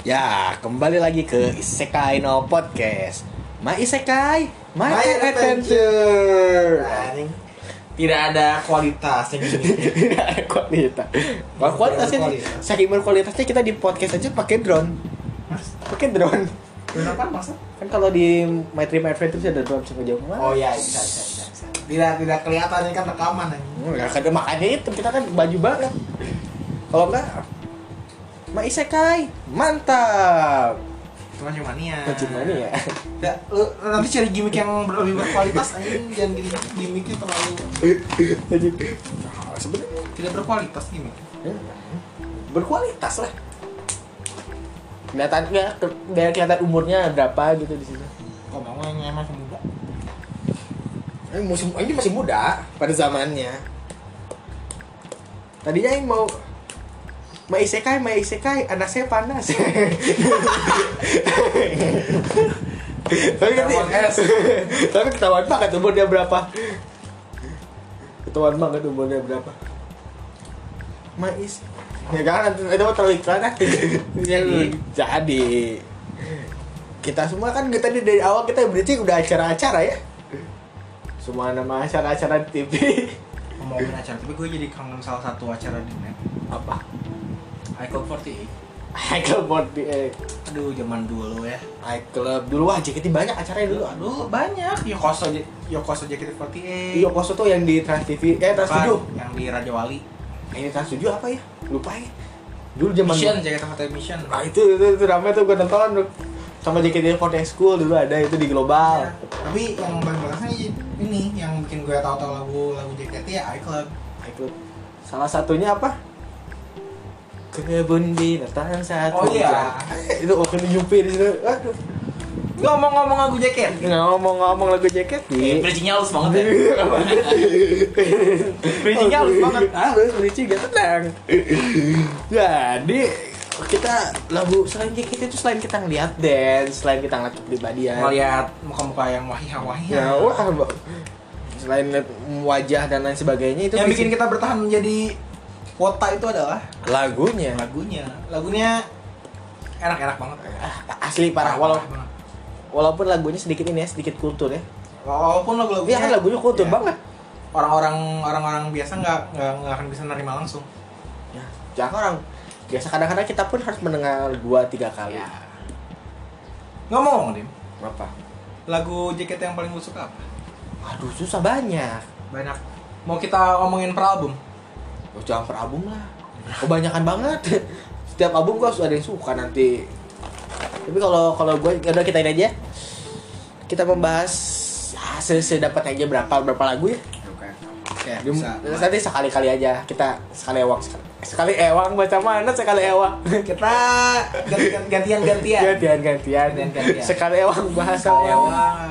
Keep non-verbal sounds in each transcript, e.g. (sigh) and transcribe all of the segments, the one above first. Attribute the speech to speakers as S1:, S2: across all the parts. S1: Ya, kembali lagi ke Isekai No Podcast. My Isekai, my,
S2: My
S1: adventure.
S2: adventure. Anjing. Tidak ada kualitas yang gini.
S1: (laughs) kualitas. Kalau kualitasnya
S2: Kualitas.
S1: nih, saking berkualitasnya kita di podcast aja pakai drone.
S2: Mas,
S1: Pakai drone.
S2: kenapa masa?
S1: Kan kalau di My Dream Adventure ada drone sampai jauh
S2: Oh iya, bisa bisa bisa. bisa. Tidak tidak kelihatan ini kan rekaman anjing.
S1: Enggak ada Hmm, ya, makanya itu kita kan baju banget. Kalau enggak My Isekai, mantap.
S2: Cuma cuma nia.
S1: Bagaimana
S2: (laughs)
S1: ya?
S2: Tidak, lu lu nanti cari gimmick yang ber- lebih berkualitas anjing jangan gini gimmicknya terlalu
S1: Lanjut. Nah, Sebenarnya
S2: tidak berkualitas gimmick.
S1: Ya. berkualitas lah kelihatan ya, ke- dari kelihatan umurnya berapa gitu di sini
S2: Kok mau yang emang muda?
S1: ini musim ini masih muda pada zamannya tadinya yang mau Mai isekai, mai isekai, anak saya panas. tapi nanti,
S2: Ketahuan es.
S1: tapi ketahuan banget umurnya berapa. Ketahuan banget umurnya berapa. Mai is, ya kan nanti itu mah terlalu
S2: (laughs)
S1: iklan ah.
S2: Iya.
S1: Yang- Jadi kita semua kan kita tadi dari awal kita berarti udah acara-acara ya. Semua nama acara-acara di TV
S2: Ngomongin acara, tapi gue jadi kangen salah satu acara di net.
S1: (laughs) apa?
S2: Icon 48.
S1: Michael Body eh.
S2: Aduh, zaman dulu ya.
S1: iClub dulu wah JKT banyak acaranya dulu aduh
S2: Dulu banyak Yokoso Yokoso JKT48.
S1: Yokoso Iya, tuh yang di Trans TV eh Trans
S2: Iya. Apa?
S1: 7
S2: yang di Raja Wali.
S1: ini Trans 7 apa ya lupa ya dulu zaman
S2: Mission, JKT48 Mission.
S1: nah itu itu, itu ramai tuh gue nonton sama JKT48 School dulu ada itu di global
S2: Ya, tapi yang paling berkesan ini yang bikin gue tahu-tahu lagu lagu JKT ya iClub.
S1: iClub Nah, salah satunya apa kebun binatang saat
S2: Oh, iya.
S1: hujan. (laughs) itu waktu di Yupi di situ aduh
S2: Ngomong-ngomong lagu JKT.
S1: ngomong-ngomong lagu JKT
S2: Bridging-nya halus
S1: ya.
S2: banget
S1: Bridging-nya
S2: Bridging-nya halus
S1: (laughs)
S2: banget.
S1: Halus, bridging gak tenang Jadi kita lagu selain JKT itu selain kita ngeliat dance, selain kita ngeliat kepribadian
S2: (laughs) Ngeliat muka-muka yang wahia wahia.
S1: Ya wah Mbak. Selain ngeliat wajah dan lain sebagainya itu
S2: yang
S1: visi-
S2: bikin kita bertahan menjadi kota itu adalah
S1: Lagunya
S2: lagunya. Lagunya enak-enak banget.
S1: Asli parah, walau,
S2: Parah banget.
S1: walaupun lagunya sedikit ini ya, sedikit kultur ya
S2: Walaupun lagu-lagunya
S1: Iya kan lagunya kultur
S2: ya,
S1: banget
S2: Orang-orang orang-orang biasa nggak nggak nggak akan bisa nerima langsung.
S1: ya, Jangan orang Biasa kadang-kadang kita pun harus mendengar dua tiga kali
S2: Ya. Ngomong, Dim.
S1: Apa?
S2: Lagu JKT yang paling lu suka apa?
S1: Aduh susah banyak
S2: Banyak. Mau kita ngomongin per album?
S1: Oh, jangan per album lah. Kebanyakan banget. (laughs) Setiap album gua harus ada yang suka nanti. Tapi kalau kalau gua ya udah kita ini aja. Kita membahas hasil sedapat aja berapa berapa lagu ya.
S2: Oke. Oke,
S1: Di-
S2: bisa.
S1: Nanti sekali-kali aja kita sekali ewang sekali, Eh, sekali ewang baca mana sekali ewang. (laughs)
S2: Kita gantian gantian (laughs) gantian.
S1: Gantian gantian.
S2: Gantian-gantian.
S1: Sekali ewang bahasa
S2: Sekali
S1: ewang.
S2: ewang.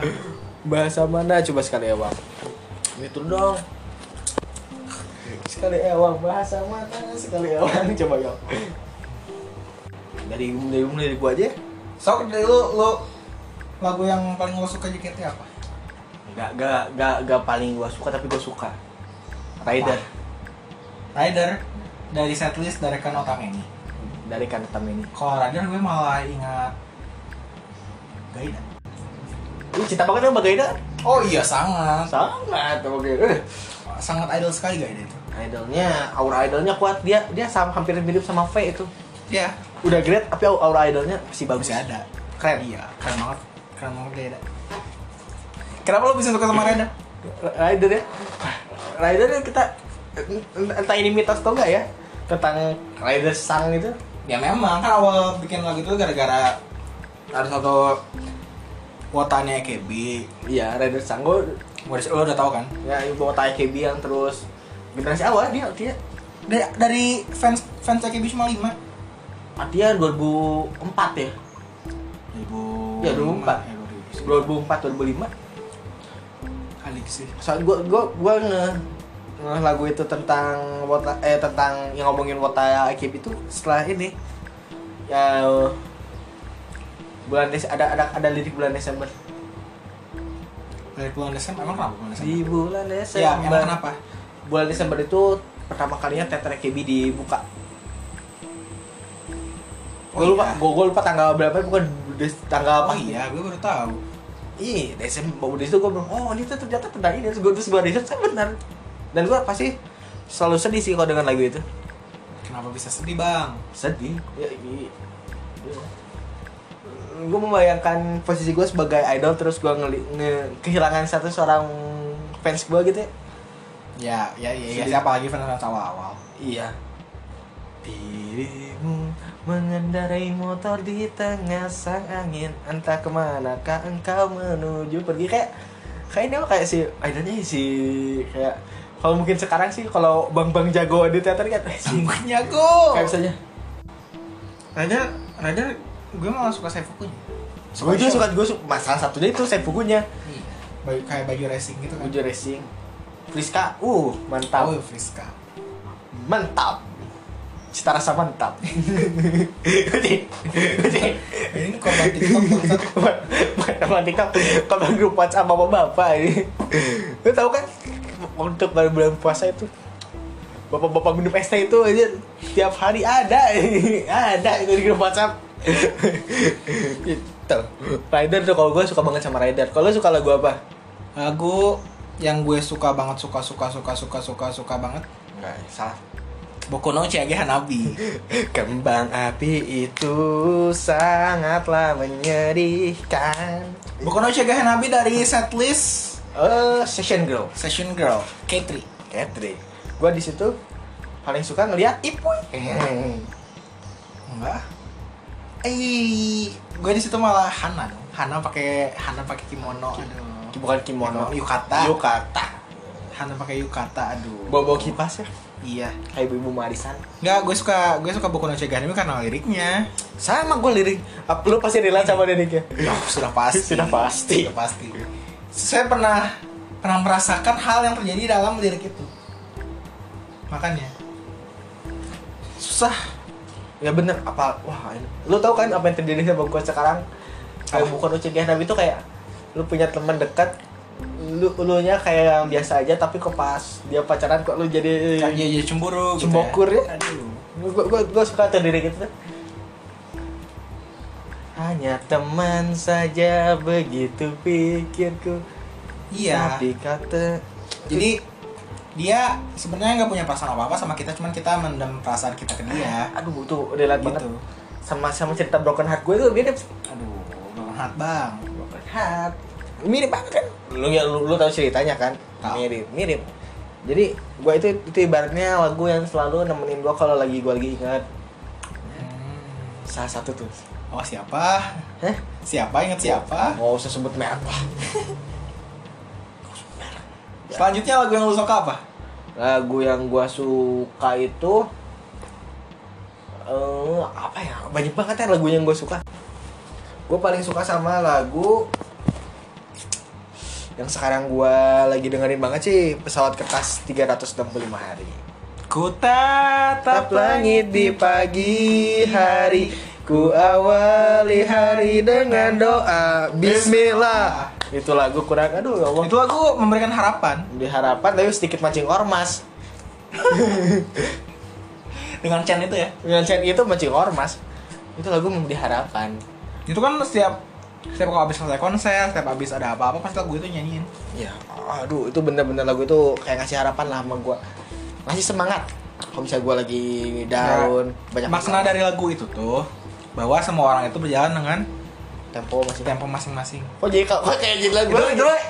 S1: Bahasa mana coba sekali ewang. Itu dong. Sekali ewang bahasa mana sekali ewang (laughs) coba ya. Dari dari mulai dari gua aja. ya?
S2: So, dari lu lu lagu yang paling lu suka JKT apa?
S1: Gak gak gak gak paling gua suka tapi gua suka. Rider
S2: Rider dari setlist dari Kan Otam ini.
S1: dari Kantem ini.
S2: Kalau Rider gue malah ingat Gaida.
S1: Ih, cinta banget sama Gaida.
S2: Oh iya sangat.
S1: Sangat sama Gaida.
S2: Sangat idol sekali Gaida itu.
S1: Idolnya, aura idolnya kuat. Dia dia sama hampir mirip sama V itu.
S2: Iya.
S1: Udah great tapi aura idolnya masih bagus.
S2: Bagus ada.
S1: Keren.
S2: Iya, keren banget. Keren banget Gaida. Kenapa lu bisa suka sama Rider?
S1: Rider ya Rider ya kita entah ini mitos atau enggak ya tentang Rider Sang itu
S2: Ya memang kan awal bikin lagu itu gara-gara ada satu kuotanya EKB.
S1: iya Rider Sang gue
S2: Gua udah- Lo udah tau kan?
S1: ya ibu kota IKB yang terus generasi awal dia dia
S2: Dari, dari fans fans EKB cuma 5.
S1: dia 2004 ya
S2: Ibu.
S1: Ya, 2004. 2004 2005
S2: Kali sih.
S1: soal gua gua gua nge, nge lagu itu tentang wota eh tentang yang ngomongin wota IKB itu setelah ini ya bulan Des ada ada ada lirik bulan Desember
S2: Dari bulan Desember emang kenapa bulan Desember?
S1: di bulan
S2: Ya,
S1: Desember
S2: emang kenapa?
S1: bulan Desember itu pertama kalinya teater KB dibuka gue lupa gue, gue lupa tanggal berapa bukan Des- tanggal
S2: Oh
S1: apa gitu.
S2: iya, gue baru tahu.
S1: iya Desember udah itu gue bilang oh ini tuh ternyata tentang ini terus gue terus gue riset saya benar dan gue pasti selalu sedih sih kalau dengan lagu itu
S2: Kenapa bisa sedih, Bang?
S1: sedih ya, gue membayangkan posisi gue sebagai idol terus gue ngeli- nge- kehilangan satu seorang fans gue gitu ya
S2: Ya, ya, ya, ya.
S1: Sedih.
S2: Siapa lagi fans-fans
S1: (laughs)
S2: awal-awal?
S1: Iya. Dirimu mengendarai motor di tengah sang angin Entah kemanakah engkau menuju pergi Kayak kayak ini apa, kayak si idolnya si kayak kalau mungkin sekarang sih kalau bang-bang jago di teater kan eh, si
S2: Semuanya go.
S1: kayak misalnya
S2: Radar, radar, gue malah suka Seifukunya.
S1: gue juga "Oh, suka gue suka masalah satunya itu saya bukunya
S2: Iya. Baju- kayak baju racing gitu kan.
S1: Ujo Racing Friska uh mantap
S2: Tahu ya, Friska.
S1: mantap cita rasa mantap
S2: Ini korban TikTok bangsat.
S1: Teman TikTok kalau grup WhatsApp sama bapak ini. Lu tahu kan untuk bulan bulan puasa itu bapak-bapak minum es teh itu aja tiap hari ada ada itu di grup WhatsApp. gitu. Rider tuh kalau gue suka banget sama Rider. Kalau lu suka lagu apa?
S2: Lagu yang gue suka banget suka suka suka suka suka suka banget
S1: Enggak, salah.
S2: Boku no Chiage Hanabi
S1: (laughs) Kembang api itu sangatlah menyedihkan.
S2: Boku no Chiage Hanabi dari setlist
S1: Eh, Session Girl.
S2: Session Girl K3
S1: Etre. Gua di situ paling suka ngelihat Ipuy.
S2: enggak eh gue di situ malah Hana dong Hana pakai Hana pakai kimono aduh
S1: (laughs) Bukan kimono,
S2: Yukata.
S1: Yukata.
S2: Hana pakai yukata aduh
S1: Bawa kipas ya,
S2: iya
S1: kayak ibu-ibu marisan.
S2: Enggak, gue suka gue suka Boku no Chiage Hanabi karena liriknya
S1: Sama gue lirik, Ap- lu pasti relate sama liriknya.
S2: Ya, sudah pasti.
S1: Sudah pasti.
S2: Sudah pasti. Saya pernah pernah merasakan hal yang terjadi dalam lirik itu. Makanya susah.
S1: Ya bener, apa wah ini- lu tau kan apa yang terjadi sama gua sekarang? Kayak
S2: Apa?
S1: bukan ucapin tapi itu kayak lu punya teman dekat lu lu nya kayak yang biasa aja tapi kok pas dia pacaran kok lu jadi
S2: Kayak jadi cemburu
S1: Iya.
S2: gitu.
S1: Cembokur ya.
S2: Aduh.
S1: gue gue gue suka tuh diri gitu tuh. hanya teman saja begitu pikirku
S2: Iya.
S1: tapi kata
S2: Jadi dia sebenarnya nggak punya perasaan apa-apa sama kita, cuman kita mendem perasaan kita ke dia.
S1: aduh itu relate banget
S2: Gitu.
S1: sama sama cerita broken heart gue tuh mirip
S2: Aduh, broken heart bang.
S1: broken heart mirip banget kan lu ya lu, lu tahu ceritanya kan
S2: Tahu.
S1: mirip mirip jadi gue itu itu ibaratnya lagu yang selalu nemenin gue kalau lagi gue lagi ingat
S2: Hmm.
S1: salah satu tuh
S2: Oh siapa?
S1: Hah?
S2: Siapa ingat siapa?
S1: Nggak usah sebut merek lah.
S2: Selanjutnya lagu yang lu suka apa?
S1: lagu yang gua suka itu eh apa ya banyak banget ya lagu yang gua suka gua paling suka sama lagu yang sekarang gua lagi dengerin banget sih pesawat kertas 365 hari
S2: Ku
S1: Tap
S2: tatap
S1: langit di pagi hari Ku awali hari dengan doa Bismillah Itu lagu kurang, aduh ya Allah
S2: Itu lagu memberikan harapan
S1: Diharapan tapi sedikit mancing ormas
S2: dengan Chan itu ya.
S1: Dengan Chen itu mancing ormas itu lagu memberi harapan
S2: Itu kan setiap setiap kalau habis selesai konser, setiap habis ada apa-apa pasti lagu itu nyanyiin.
S1: ya aduh itu bener-bener lagu itu kayak ngasih harapan lah sama gue ngasih semangat kalau misalnya gue lagi down banyak
S2: Makna dari lagu itu tuh bahwa semua orang itu berjalan dengan
S1: tempo masih
S2: tempo masing-masing.
S1: oh jadi kok kok kayak jadi lagu
S2: Itu- itu-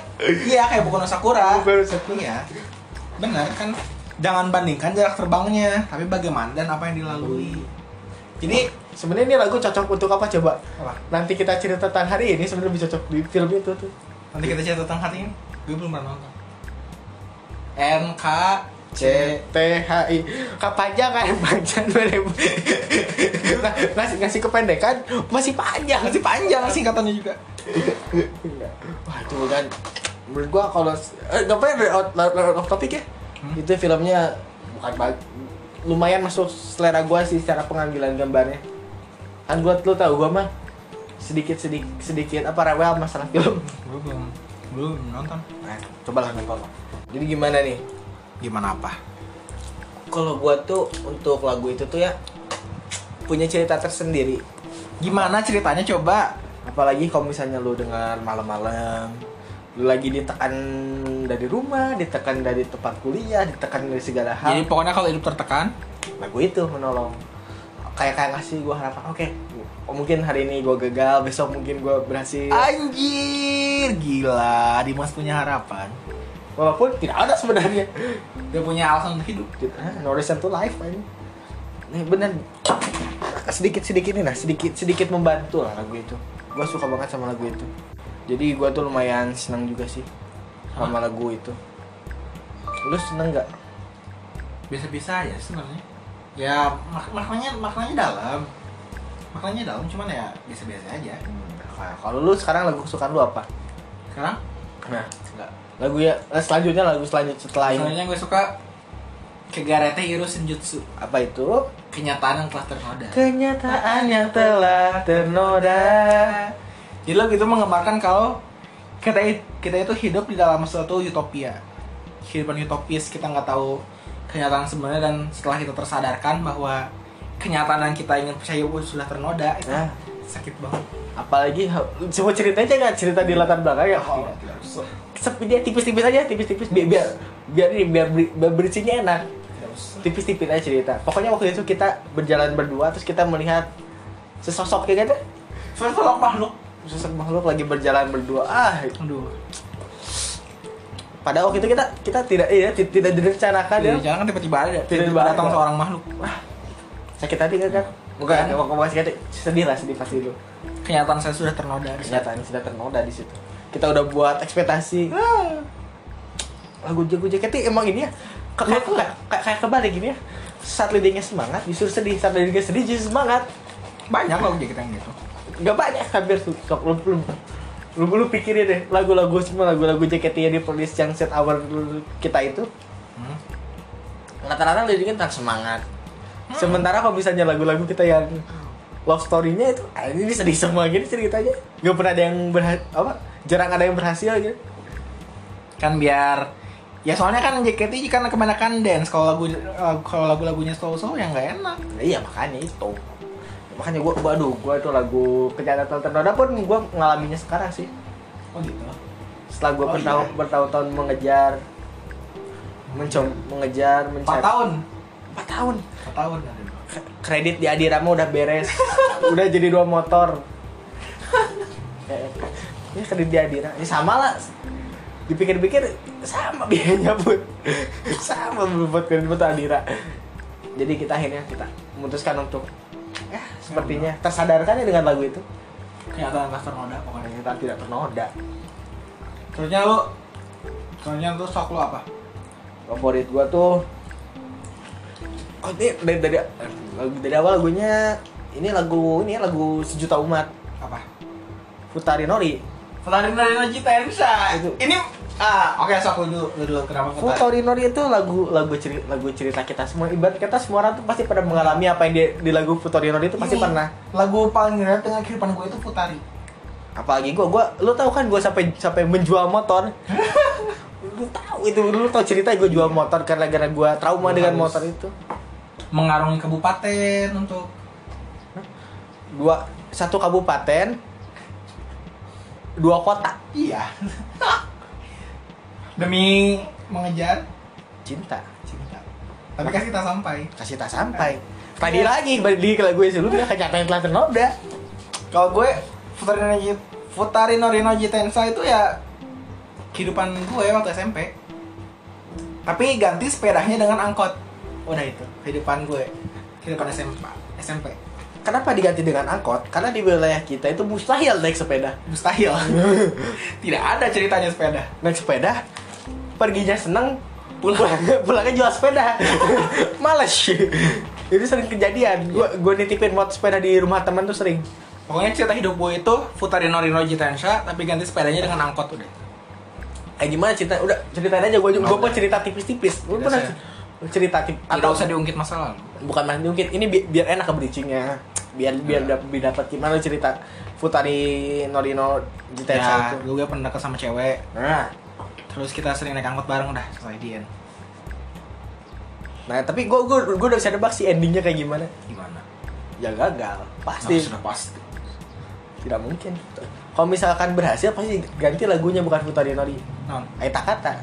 S2: iya kayak bukan Sakura.
S1: Bukan Sakura.
S2: Iya. Benar kan? Jangan bandingkan jarak terbangnya, tapi bagaimana dan apa yang dilalui. Jadi
S1: sebenarnya ini lagu cocok untuk apa coba
S2: apa?
S1: nanti kita cerita tentang hari ini sebenarnya lebih cocok di film itu tuh
S2: Nanti kita cerita tentang hati ini. Gue belum pernah nonton. NKC
S1: C T H I kepanjangan (laughs) panjang beribu Nah, ngasih ngasih kependekan masih panjang
S2: masih panjang singkatannya juga.
S1: Wah itu kan menurut gua kalau eh ngapain dari out, out, out of topic ya?
S2: Hmm.
S1: Itu filmnya bukan bag- lumayan masuk selera gua sih secara pengambilan gambarnya. Kan gua lu tahu gua mah sedikit sedikit sedikit apa rewel masalah film.
S2: Gue belum belum nonton.
S1: Nah, cobalah nonton. Jadi gimana nih?
S2: Gimana apa?
S1: Kalau gua tuh untuk lagu itu tuh ya punya cerita tersendiri.
S2: Gimana ceritanya coba?
S1: apalagi kalau misalnya lu dengar malam-malam lu lagi ditekan dari rumah ditekan dari tempat kuliah ditekan dari segala hal
S2: Jadi pokoknya kalau hidup tertekan,
S1: lagu itu menolong kayak kayak ngasih gue harapan oke oh, mungkin hari ini gue gagal besok mungkin gue berhasil
S2: Iya. anjir gila, Dimas punya harapan.
S1: walaupun tidak ada sebenarnya
S2: Dia punya alasan untuk hidup.
S1: Ah, no reason to life man nih bener sedikit sedikit ini lah sedikit sedikit membantu lah lagu itu gue suka banget sama lagu itu jadi gue tuh lumayan senang juga sih sama lagu itu lu seneng nggak
S2: Biasa-biasa aja sebenarnya. Ya mak- maknanya maknanya dalam. Maknanya dalam cuman ya biasa-biasa aja.
S1: Nah, kalau lu sekarang lagu kesukaan lu apa
S2: Sekarang
S1: nah lagu ya eh, selanjutnya lagu selanjutnya setelah ini
S2: Soalnya gue suka Kegarete Hiro Senjutsu
S1: apa itu
S2: Kenyataan yang telah ternoda
S1: kenyataan yang telah ternoda
S2: Jadi lagu itu gitu menggambarkan kalau kita, kita itu hidup di dalam suatu utopia Kehidupan utopis kita nggak tahu kenyataan sebenarnya dan setelah kita tersadarkan bahwa kenyataan yang kita ingin percaya pun sudah ternoda itu
S1: nah
S2: sakit banget
S1: apalagi coba cerita aja nggak cerita di latar belakang ya
S2: Tidak, tidak usah.
S1: sepi dia tipis-tipis aja tipis-tipis biar biar biar ini biar, beri- biar bridging-nya enak
S2: Tidak usah.
S1: tipis-tipis aja cerita pokoknya waktu itu kita berjalan berdua terus kita melihat sesosok kayak gitu
S2: Sosok makhluk
S1: sesosok makhluk lagi berjalan berdua ah
S2: Aduh
S1: pada waktu itu kita kita tidak iya ti- tidak direncanakan ya
S2: Di jalan kan tiba-tiba ada
S1: Tiba-tiba
S2: Tiba-tiba datang
S1: ada.
S2: seorang makhluk
S1: sakit hati kan kan bukan
S2: Bukan.
S1: mau ngomong sakit hati. sedih lah sedih pasti dulu
S2: Kenyataan saya sudah ternoda
S1: kenyataan sudah ternoda di situ kita udah buat ekspektasi
S2: Ah.
S1: lagu jago jaketnya emang ini ya ke- kayak kayak kayak- kayak kebalik gini ya saat lidahnya semangat justru sedih saat lidahnya sedih justru semangat
S2: Banyak lagu kita yang gitu
S1: Gak banyak hampir tuh lu, lu, lu, lu pikirin deh lagu-lagu semua lagu-lagu jaketnya di playlist yang set awal dulu kita itu
S2: Hmm.
S1: rata-rata liriknya tentang semangat Hmm. sementara kalau misalnya lagu-lagu kita yang love story-nya itu ah, ini sedih semua gini ceritanya gak pernah ada yang berhasil apa jarang ada yang berhasil gitu
S2: kan biar ya soalnya kan JKT karena kebanyakan dance kalau lagu lagu- kalau lagu-lagunya slow slow ya nggak enak
S1: Nah, iya makanya itu makanya gua gua aduh gua itu lagu kejahatan ternoda pun gua ngalaminya sekarang sih
S2: oh gitu
S1: setelah gua
S2: Oh,
S1: bertahun
S2: iya.
S1: bertahun-tahun mengejar mencoba mengejar
S2: empat
S1: mencari
S2: tahun
S1: empat tahun
S2: empat tahun ada.
S1: K- kredit di Adirama udah beres (laughs) udah jadi dua (laughs) motor Eh, ini kredit di Adira ini sama lah dipikir-pikir sama (laughs) biayanya pun sama buat kredit buat Adira jadi kita akhirnya kita memutuskan untuk ya sepertinya tersadarkan ya dengan lagu itu
S2: kenyataan pas ternoda pokoknya
S1: kita tidak ternoda
S2: terusnya lu terusnya tuh sok lu apa
S1: favorit gua tuh oh ini dari dari dari awal lagunya ini lagu ini ya, lagu sejuta umat
S2: apa
S1: Futari Nori
S2: Futarin dari Najita Ersa
S1: Itu.
S2: ini ah oke sok lu dulu lu dulu kenapa Futarin
S1: Futari Nori itu lagu lagu cerita lagu cerita kita semua ibarat kata semua orang tuh pasti pernah mengalami apa yang di, di lagu Futari Nori itu pasti
S2: Ini,
S1: pernah
S2: lagu paling relate dengan kehidupan gue itu Futari
S1: apalagi gua gua lu tahu kan gua sampai sampai menjual motor lu tahu itu lu tahu cerita gua jual motor karena gara gua trauma
S2: Lu
S1: dengan
S2: harus-
S1: motor itu
S2: mengarungi kabupaten untuk
S1: dua satu kabupaten dua kota
S2: iya (laughs) demi mengejar
S1: cinta
S2: cinta tapi kan kita sampai
S1: kasih tak sampai tadi lagi balik lagi ke lagu yang sebelumnya kenyataan telah ternoda
S2: kalau gue Futarino Ji- Futarino Rino Jitensa itu ya kehidupan gue ya waktu SMP tapi ganti sepedanya dengan angkot udah itu kehidupan gue kehidupan SMP SMP
S1: kenapa diganti dengan angkot karena di wilayah kita itu mustahil naik sepeda
S2: (laughs) mustahil tidak ada ceritanya sepeda
S1: naik sepeda perginya seneng pulang (laughs) pulangnya jual sepeda males itu sering kejadian gua gua nitipin motor sepeda di rumah teman tuh sering
S2: pokoknya cerita hidup gue itu Futarino Rino Jitensa tapi ganti sepedanya dengan angkot udah
S1: kayak Eh, gimana cerita udah ceritain aja gua gua pun cerita tipis-tipis gua
S2: Tidak
S1: pernah
S2: saya.
S1: Iya, cerita tipis
S2: tidak usah diungkit masa lalu
S1: bukan mas mungkin ini bi- biar enak ke bridgingnya biar biar dap biar dapat gimana cerita Futari Norino Jitensa
S2: ya
S1: itu
S2: gue pernah deket sama cewek
S1: nah
S2: terus kita sering naik angkot bareng udah selesai dia
S1: nah tapi gue gue gue udah bisa nebak sih endingnya kayak gimana
S2: gimana
S1: ya gagal pasti
S2: Nah, sudah pasti
S1: tidak mungkin kalau misalkan berhasil pasti ganti lagunya bukan Futari Nori
S2: non
S1: Aita kata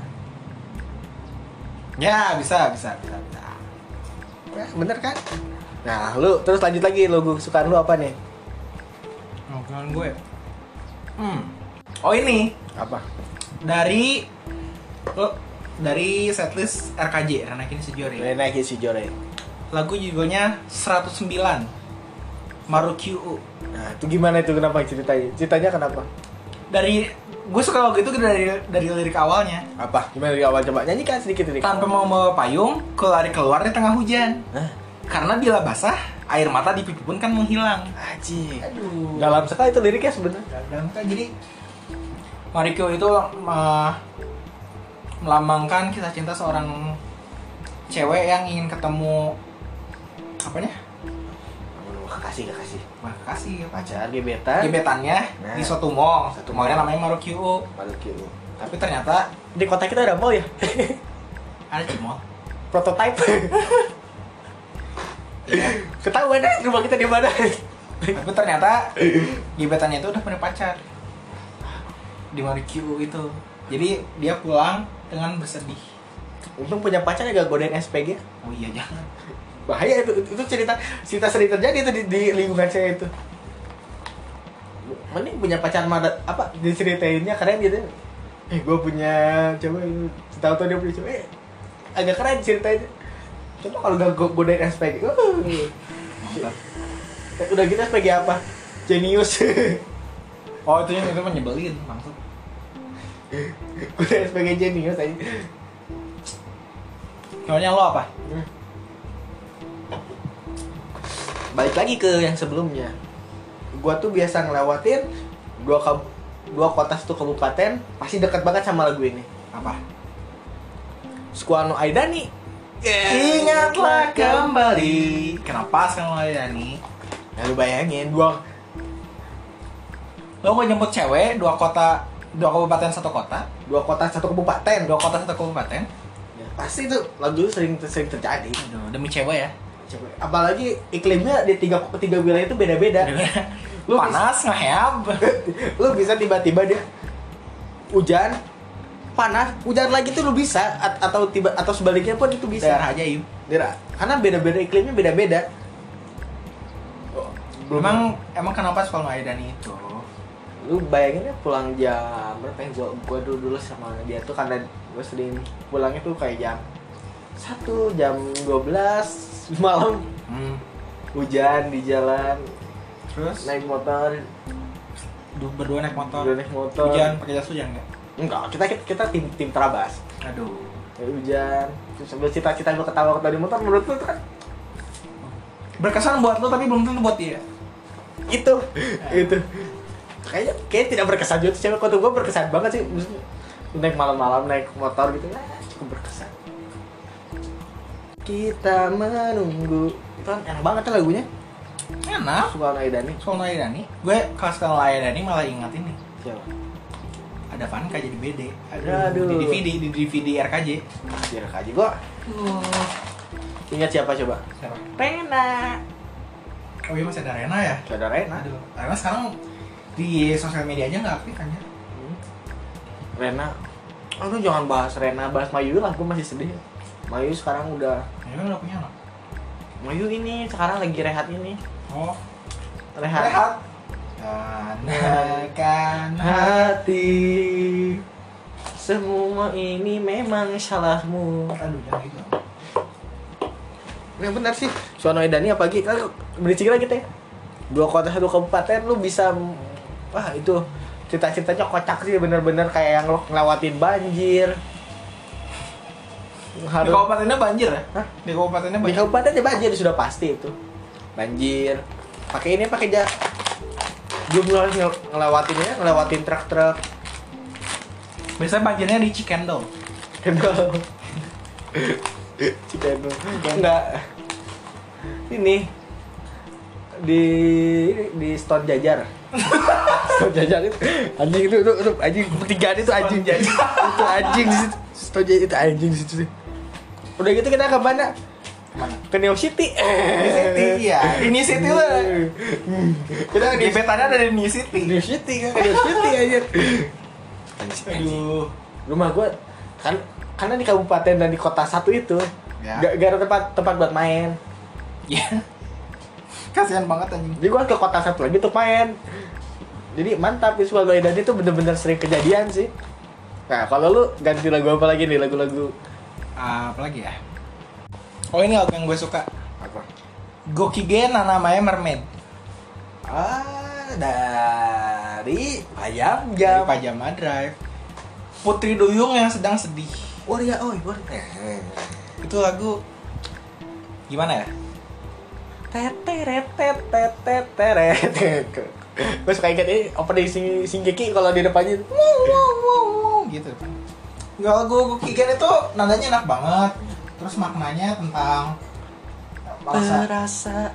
S2: ya bisa bisa bisa, bisa.
S1: nah, bener kan nah lu terus lanjut lagi lagu kesukaan lu apa nih
S2: Ngomongan gue hmm oh ini
S1: apa
S2: dari oh, dari setlist RKJ Ranakini Sejori
S1: Renai si Jore
S2: lagu judulnya 109 Marukyu
S1: nah itu gimana itu kenapa ceritanya ceritanya kenapa
S2: dari gue suka lagu itu dari dari lirik awalnya
S1: apa gimana dari awal coba nyanyikan sedikit sedikit
S2: tanpa mau bawa payung ku lari keluar di tengah hujan
S1: Hah?
S2: karena bila basah air mata di pipi pun kan menghilang
S1: Aji.
S2: aduh
S1: Dalam sekali itu liriknya sebenarnya.
S2: dalam kan jadi Marikyo itu eh, melambangkan kisah cinta seorang cewek yang ingin ketemu apanya
S1: Kasih gak kasih.
S2: Wah, kasih apa
S1: Pacar gebetan.
S2: gebetannya
S1: Nah.
S2: di suatu mall
S1: Satu
S2: mallnya
S1: mall.
S2: namanya Marukyo
S1: Maluku.
S2: tapi ternyata
S1: Di kota kita ada mall ya. (laughs)
S2: ada di (laughs) mall
S1: Prototype. Ketahuan deh rumah kita di mana.
S2: tapi ternyata gebetannya itu udah punya pacar di Marikyu itu jadi dia pulang dengan bersedih
S1: Untung punya pacar yang gak godain SPG.
S2: oh iya jangan
S1: Bahaya itu, itu cerita cerita sering terjadi itu di, di lingkungan saya itu. Mending punya pacar mah ada- apa diceritainnya keren gitu. Eh gue punya coba itu tahu tahu dia punya coba eh, agak keren ceritainnya. Coba kalau gak go- godain SPG, uh.
S2: Mantap.
S1: Eh, udah kita sebagai apa? Genius. (laughs)
S2: oh itu itu menyebelin maksud
S1: udah sebagai genius aja.
S2: Soalnya lo apa
S1: Balik lagi ke yang sebelumnya. Gua tuh biasa ngelewatin dua kab- dua kota satu kabupaten pasti dekat banget sama lagu ini.
S2: apa
S1: Squano Aidani.
S2: ingatlah kembali kenapa sekarang mulai Dani
S1: Nah, lu bayangin dua
S2: lo mau jemput cewek dua kota dua kabupaten satu kota
S1: dua kota satu kabupaten.
S2: dua kota satu kabupaten
S1: Ya, pasti itu lagu itu sering sering terjadi.
S2: Aduh, demi cewek ya
S1: Coba, Apalagi iklimnya di tiga tiga wilayah itu beda-beda. Ya. Lu
S2: (laughs) panas ngehab
S1: (laughs) lu bisa tiba-tiba dia hujan panas hujan lagi tuh lu bisa A- atau tiba atau sebaliknya pun itu bisa
S2: daerah ajaib
S1: Dera. karena beda-beda iklimnya beda-beda Belum-
S2: emang emang kenapa Spalma Aidani itu
S1: lu bayangin ya pulang jam berapa ya gua gua dulu dulu sama dia tuh karena gua sering pulangnya tuh kayak jam satu jam 12 malam
S2: hmm.
S1: hujan di jalan
S2: terus
S1: naik motor
S2: Du- berdua naik motor
S1: udah naik motor
S2: hujan pakai jas hujan nggak
S1: enggak kita kita, kita tim tim terabas
S2: aduh
S1: Kayak hujan terus sambil cita-cita gue ketawa ketawa di motor menurut lu tuh kan
S2: berkesan buat lo tapi belum tentu buat dia
S1: itu itu Gitu. kayaknya kayak tidak berkesan juga tuh cewek kok gue berkesan banget sih Maksudnya, naik malam-malam naik motor gitu nah, cukup berkesan kita menunggu itu kan enak banget tuh lagunya
S2: enak
S1: suka Aidani
S2: soal Aidani gue kalau sekarang Aidani malah ingat ini
S1: siapa
S2: ada Vanka jadi BD
S1: Aduh.
S2: di DVD di DVD RKJ
S1: Jarak aja gue ingat siapa coba
S2: siapa
S1: Rena
S2: oh iya masih ada Rena ya
S1: saudara Rena
S2: aduh Rena sekarang di sosial media aja nggak aktif kan ya
S1: Hmm. Rena aduh jangan bahas Rena bahas Mayu lah gue masih sedih Mayu sekarang udah
S2: Rena kan udah punya anak
S1: Mayu ini sekarang lagi rehat ini.
S2: oh
S1: Rehat.
S2: rehat Tanahkan
S1: Hati. Semua ini memang salahmu.
S2: aduh jangan gitu
S1: Ya benar sih. Suwono Edani apalagi kan bericik lagi teh. Dua kota satu kabupaten lu bisa wah itu cita-citanya kocak sih bener-bener kayak yang lo ngelewatin banjir.
S2: di
S1: Harus
S2: kabupatennya banjir ya
S1: Hah?
S2: di kabupatennya
S1: di
S2: banjir
S1: kabupaten ya banjir sudah pasti itu. Banjir. Pakai ini pakai jas. Belum harus ngel- ngelewatinnya, ngelewatin truk-truk.
S2: biasanya banjirnya di Cikendol
S1: Cendol. Cendol. Enggak. Ini di di Stone Jajar. Stone Jajar itu anjing itu itu, itu anjing pertigaan itu anjing
S2: Stone Jajar.
S1: itu anjing di situ. Stone Jajar itu anjing di situ sih. Udah gitu kita ke mana?
S2: Mana?
S1: ke Neo City
S2: New City, iya. Di New City tuh ada-
S1: kita ke Hmm. New City
S2: gebetannya ada di New City.
S1: New City kan ke New City aja
S2: Aduh.
S1: rumah gua kan karena di kabupaten dan di kota satu itu
S2: Ya.
S1: gak, gak ada tempat tempat buat main
S2: Ya. Kasihan banget anjing.
S1: jadi gua ke kota satu lagi untuk main jadi mantap visual gua dan itu bener-bener sering kejadian sih nah kalau lu ganti lagu apa lagi nih lagu-lagu
S2: Ah, apa lagi ya? Oh ini lagu yang gue suka.
S1: apa
S2: Gokige Nanamae Mermaid.
S1: ah dari Pajam
S2: Dari
S1: Jam
S2: Pajama Drive. Putri Duyung yang sedang sedih.
S1: Waria oi Waria
S2: Itu lagu gimana ya?
S1: Gue suka inget ini opening sing Shingeki kalau di depannya
S2: Wow, wow, wow, wow, gitu. Lagu Gokige itu nadanya enak banget. Terus maknanya tentang rasa
S1: perasaan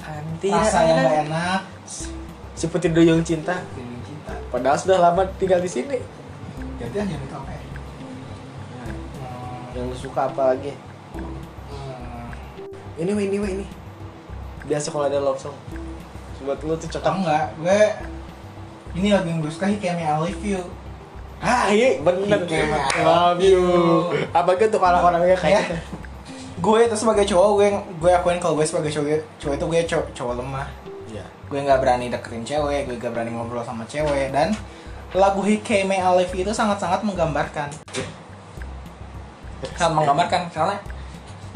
S2: rasa yang gak enak
S1: seperti duyung cinta
S2: feeling cinta.
S1: padahal sudah lama tinggal di sini
S2: Jadi hanya itu apa ya?
S1: Hmm,
S2: "Hmm,
S1: yang lu suka apa lagi ini anyway, ini anyway, ini biasa kalau ada love song buat lu tuh
S2: Atau
S1: cocok
S2: enggak, gue ini lagu yang gue suka Hikemi I Love You
S1: ah iya bener
S2: Thank you, I
S1: love
S2: love
S1: you
S2: you.
S1: apa gitu kalau orang yang kayak
S2: Ya.
S1: gitu?
S2: gue itu sebagai cowok gue gue akuin kalau gue sebagai cowok cowok itu gue cowok, cowok lemah
S1: Iya.
S2: gue nggak berani deketin cewek gue nggak berani ngobrol sama cewek dan lagu Hikeme I Love You itu sangat-sangat menggambarkan sangat menggambarkan karena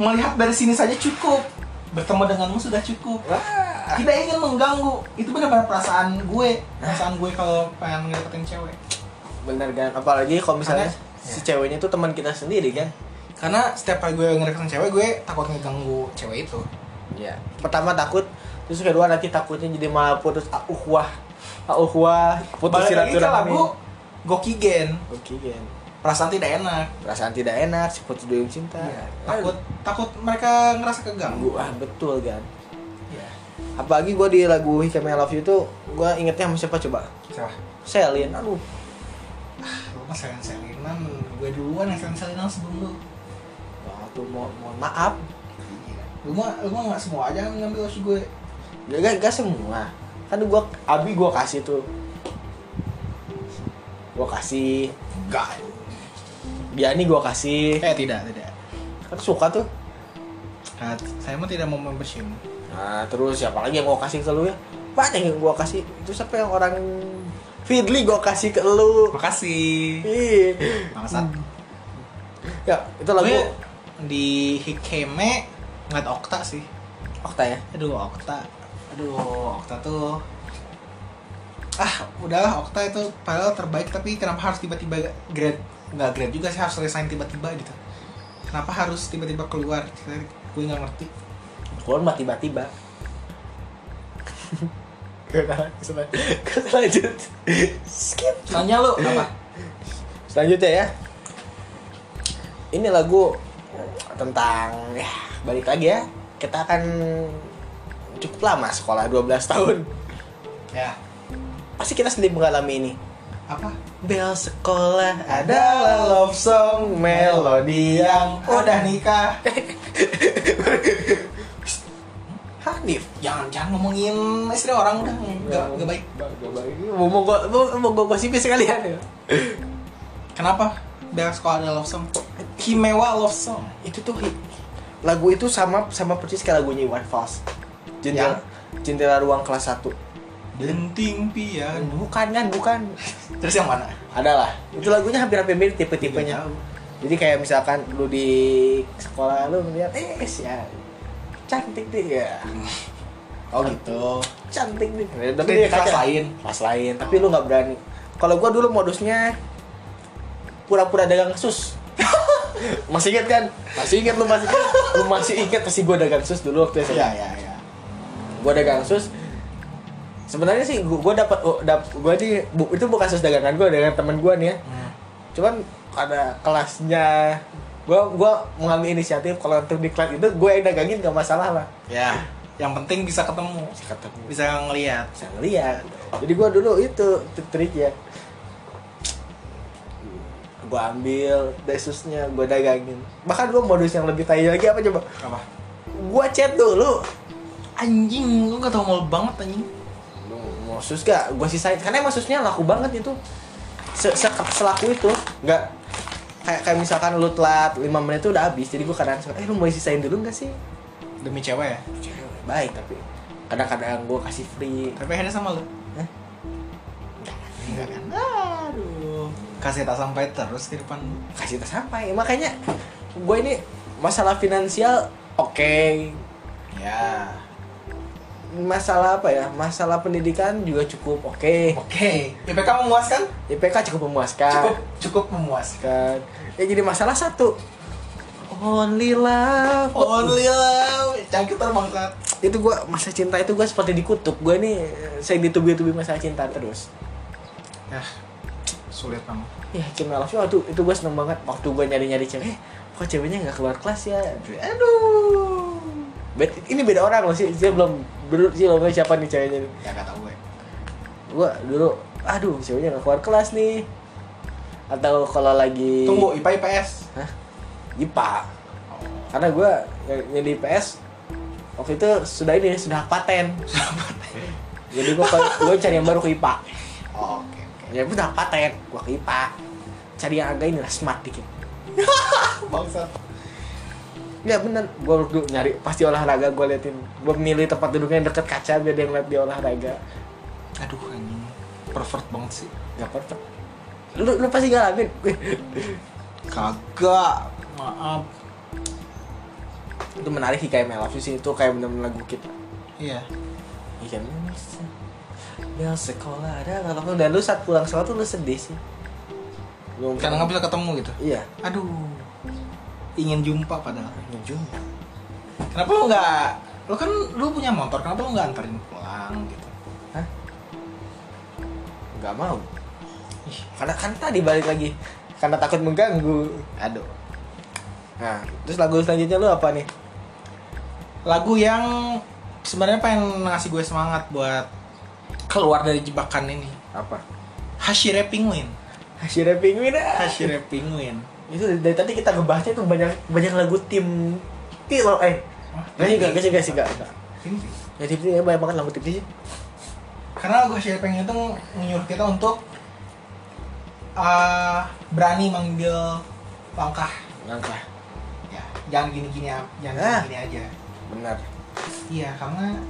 S2: melihat dari sini saja cukup bertemu denganmu sudah cukup
S1: Wah.
S2: tidak ingin mengganggu itu benar-benar perasaan gue perasaan gue kalau pengen ngedeketin cewek
S1: bener kan apalagi kalau misalnya
S2: Karena-
S1: si ceweknya tuh teman kita sendiri kan
S2: karena setiap kali gue ngedeketin cewek gue takut ngeganggu cewek itu
S1: Iya. Pertama takut, terus kedua nanti takutnya jadi malah putus ah, uhwah. Ah, uhwah, putus
S2: balik lagi ke
S1: silaturahmi.
S2: lagu Gokigen
S1: Oke, Gen.
S2: perasaan tidak enak
S1: Perasaan tidak enak, si putus duyung cinta.
S2: Iya, takut takut mereka ngerasa keganggu
S1: Gua ah, betul kan.
S2: Iya.
S1: Apalagi gua di lagu Hikam I Love You tuh gua ingetnya sama siapa coba?
S2: Salah.
S1: Selin. Aduh,
S2: Lu mah selain selinan, gue duluan yang selain selinan sebelum lu.
S1: wah tuh mo- mohon maaf.
S2: Lu mah lu mah nggak semua aja yang ngambil si gue.
S1: Gak, gak, gak Ya, semua. Kan gua Abi gua kasih tuh. Gua kasih,
S2: Enggak.
S1: Biani gua kasih.
S2: Eh tidak tidak.
S1: Kan suka tuh.
S2: Nah, saya mah tidak mau membership.
S1: Nah, terus siapa lagi yang gua kasih ke lu ya? Banyak yang gua kasih. Itu siapa yang orang Fidli gua kasih ke lu.
S2: Makasih.
S1: Ih.
S2: Bangsat.
S1: Ya, itu lagu
S2: Gue di Hikeme ngeliat Okta sih.
S1: Okta ya.
S2: Aduh Okta. Aduh Okta tuh ah udahlah Okta itu padahal terbaik tapi kenapa harus tiba-tiba grade nggak grade juga sih harus resign tiba-tiba gitu kenapa harus tiba-tiba keluar gue nggak ngerti
S1: Keluar mah (laughs) tiba-tiba. Selanjut. Skip.
S2: Tanya lu Eh. apa?
S1: Selanjutnya ya. Ini lagu tentang ya balik lagi ya. Kita akan cukup lama sekolah 12 tahun.
S2: Ya.
S1: Pasti kita sendiri mengalami ini.
S2: Apa?
S1: Bel sekolah adalah love song melodi yang udah nih
S2: nikah. Eh,
S1: Hanif
S2: Jangan jangan ngomongin istri orang udah nggak nggak baik.
S1: mau mau gua mau, mau gua gosipin sekalian ya
S2: Kenapa? Bel sekolah ada love song. Kimewa love song.
S1: itu tuh hi- lagu itu sama sama persis kayak lagunya Iwan Fals jendela jendela ruang kelas 1
S2: Denting piano.
S1: bukan kan bukan
S2: Terus yang mana?
S1: adalah Iya, itu lagunya hampir-hampir mirip tipe-tipenya
S2: Nggak tahu.
S1: Jadi kayak misalkan lu di sekolah lu melihat eh si A- cantik deh ya.
S2: Oh gitu.
S1: Cantik deh.
S2: Tapi di kelas lain.
S1: Kelas lain, tapi lu nggak berani. Kalau gua dulu modusnya pura-pura dagang sus. (laughs) masih inget kan? Masih inget lu masih lu masih inget pasti gua dagang sus dulu waktu SMA.
S2: Iya iya iya.
S1: Gua dagang sus. Sebenarnya sih gua, gua dapat oh, dap- gua di bu- itu bukan sus dagangan gua dengan temen gua nih ya
S2: Hmm.
S1: cuman ada kelasnya gue gua mengambil inisiatif kalau untuk di kelas itu gue yang dagangin gak masalah lah
S2: Ya. Yang penting bisa ketemu, bisa ngelihat.
S1: bisa ngeliat jadi gue dulu itu trik- triknya gue ambil desusnya gue dagangin bahkan gue modus yang lebih tai lagi apa coba
S2: Apa?
S1: gua chat dulu
S2: Anjing, lu gak tau malu banget anjing.
S1: Lu mau sus gak gua sisain karena emang susnya laku banget itu Se -se selaku itu nggak kayak kayak misalkan lu telat 5 menit itu udah habis jadi gua kadang suka eh lu mau sisain dulu nggak sih
S2: Demi cewek ya?
S1: Cewek baik tapi kadang-kadang gua kasih free
S2: Tapi akhirnya sama lu.
S1: Hah?
S2: Enggak kan? Aduh. Kasih tak sampai terus ke depan lu.
S1: kasih tak sampai makanya gue ini masalah finansial oke
S2: Ya.
S1: masalah apa ya masalah pendidikan juga cukup oke
S2: Eh. Oke, IPK memuaskan?
S1: IPK cukup memuaskan
S2: Cukup cukup memuaskan.
S1: kan ya jadi masalah satu only love
S2: Only love, cangkir terbangsat.
S1: itu gue masa cinta itu gue seperti dikutuk gue nih saya ditubi-tubi masalah cinta terus
S2: Yah, Ya. sulit banget.
S1: ya Kim I Love You aduh itu gue seneng banget waktu gue nyari-nyari cewek eh, kok ceweknya nggak keluar kelas ya
S2: Aduh.
S1: Bet- ini beda orang loh sih dia belum belum sih loh siapa nih ceweknya nih.
S2: Ya gak tau gue.
S1: gua dulu aduh ceweknya nggak keluar kelas nih atau kalau lagi
S2: Tunggu IPA IPS.
S1: Hah? IPA karena gua ny- nyari IPS waktu itu sudah ini sudah paten jadi gua ke- gua cari yang baru ke IPA
S2: Oh, Oke, oke.
S1: ya udah paten gua ke IPA cari yang agak ini lah smart dikit
S2: Bangsat.
S1: ya bener gua dulu nyari pasti olahraga gua liatin gua milih tempat duduknya yang deket kaca biar dia ngeliat dia olahraga
S2: Aduh anjing. Pervert banget sih.
S1: nggak perfect lu, lu pasti ngalamin (laughs)
S2: Kagak. Maaf.
S1: itu menarik sih kayak Melafis sih itu kayak bener-bener lagu kita
S2: Iya.
S1: Iya bisa. Bel sekolah ada nggak apa dan lu saat pulang sekolah tuh lu sedih sih. Lu
S2: Karena nggak bisa ketemu gitu.
S1: Iya.
S2: Aduh. Ingin jumpa padahal.
S1: Ngejum.
S2: Kenapa lu nggak? Lu kan lu punya motor. Kenapa lu nggak anterin pulang gitu?
S1: Hah? Nggak mau.
S2: Ih,
S1: Karena kan tadi balik lagi karena takut mengganggu.
S2: aduh.
S1: Nah, terus lagu selanjutnya lu apa nih?
S2: Lagu yang sebenarnya pengen ngasih gue semangat buat keluar dari jebakan ini.
S1: Apa?
S2: Hashire Penguin.
S1: Hasyire Penguin. ah.
S2: Hashire Penguin.
S1: Itu dari, dari tadi kita ngebahasnya tuh banyak banyak lagu tim tim loh eh. Gak sih gak, gak sih gak sih gak. gak. Ya tim tim banyak banget lagu tim sih.
S2: Karena lagu Hashire Penguin itu menyuruh kita untuk eh, berani mengambil langkah.
S1: Langkah.
S2: Ya, jangan gini-gini, a-
S1: Ah.
S2: jangan gini aja.
S1: Benar.
S2: Iya, karena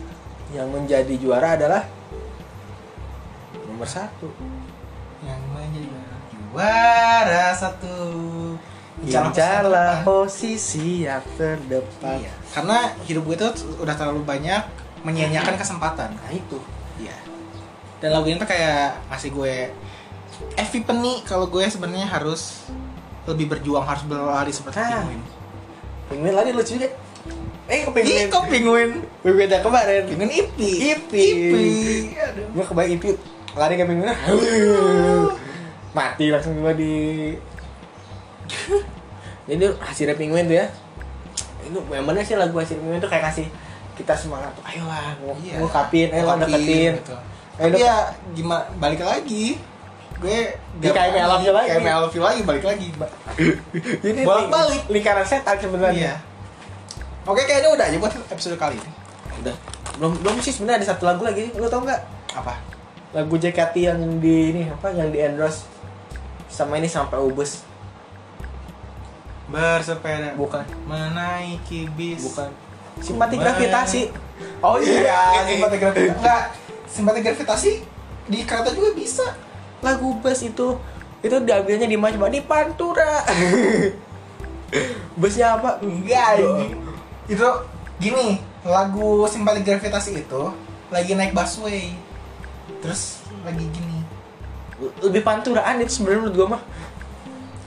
S1: Yang menjadi juara adalah nomor satu.
S2: yang menjadi juara satu
S1: Incalah
S2: peserta.
S1: posisi yang terdepan.
S2: kan? Iya. karena hidup gue tuh udah terlalu banyak menyanyiakan kesempatan
S1: Nah itu.
S2: iya dan lagu ini tuh kayak ngasih gue epiphany kalau gue sebenarnya harus lebih berjuang harus berlari seperti
S1: Ah.
S2: penguin
S1: Penguin lagi lucu deh. Eh kok
S2: Ih,
S1: penguin?
S2: kok penguin
S1: Penguin yang kemarin.
S2: penguin ipi
S1: Ipi.
S2: Aduh.
S1: Gue kebayang ipi lari ke penguin. (laughs) Mati langsung gue di. (laughs) Jadi hasilnya penguin tuh ya. Itu memangnya sih lagu hasil penguin tuh kayak kasih kita semangat. Ayolah, mau
S2: Iya.
S1: ngungkapin, ayolah
S2: Ngungkapin,
S1: deketin.
S2: gitu.
S1: Ayo
S2: Tapi ya gimana balik lagi gue
S1: Di KML lagi.
S2: KML lagi. lagi balik lagi Ba-
S1: Jadi li-
S2: Bolak-balik.
S1: lingkaran setan sebenarnya.
S2: Iya. Oke kayaknya udah aja buat episode kali ini.
S1: Udah. Belum belum sih sebenarnya ada satu lagu lagi. Lu tau nggak?
S2: Apa?
S1: lagu JKT yang di ini apa yang di endorse sama ini sampai ubus
S2: Bersepeda
S1: bukan
S2: menaiki bis.
S1: bukan simpati gravitasi
S2: Oh iya,
S1: (laughs) Eh, eh.
S2: simpati gravitasi. Enggak, simpati gravitasi di kereta juga bisa.
S1: lagu bus itu itu diambilnya di mana di pantura busnya apa
S2: Enggak ini. Itu gini, lagu simpati gravitasi itu lagi naik busway. Terus lagi gini.
S1: lebih panturaan itu sebenarnya menurut gue mah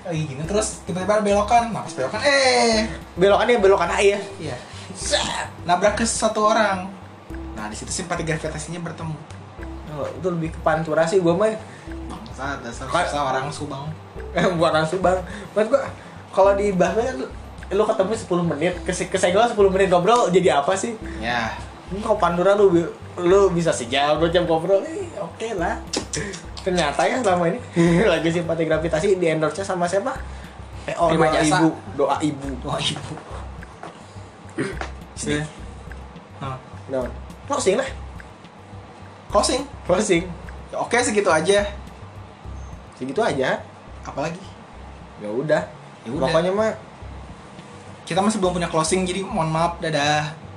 S2: Lagi gini terus tiba-tiba ada belokan, nah pas belokan eh
S1: belokannya belokan aja ya
S2: iya. Zat, Nabrak ke satu orang. Nah, di situ simpati gravitasinya bertemu.
S1: Oh, itu lebih ke pantura sih gue mah (laughs)
S2: Bangsa dasar
S1: Kayak-
S2: susah orang Subang.
S1: buat langsung bang menurut gue kalau di bahasa kan lu- lu ketemu 10 menit kese- kesenggol 10 menit ngobrol jadi apa sih
S2: Ya.
S1: Ini kalau Pandora lu bi- lu bisa sejam dua jam ngobrol, eh, oke lah. Ternyata ya selama ini (laughs) lagi simpati gravitasi di endorse sama siapa? PO
S2: Prima
S1: doa
S2: Jasa.
S1: ibu, doa ibu.
S2: Wah ibu. Sini. Nah,
S1: No. Closing lah.
S2: closing.
S1: Closing.
S2: Ya, Oke, segitu aja.
S1: Segitu aja.
S2: Apalagi?
S1: Ya udah.
S2: Ya udah.
S1: Pokoknya mah
S2: Kita masih belum punya closing, jadi mohon maaf. Dadah.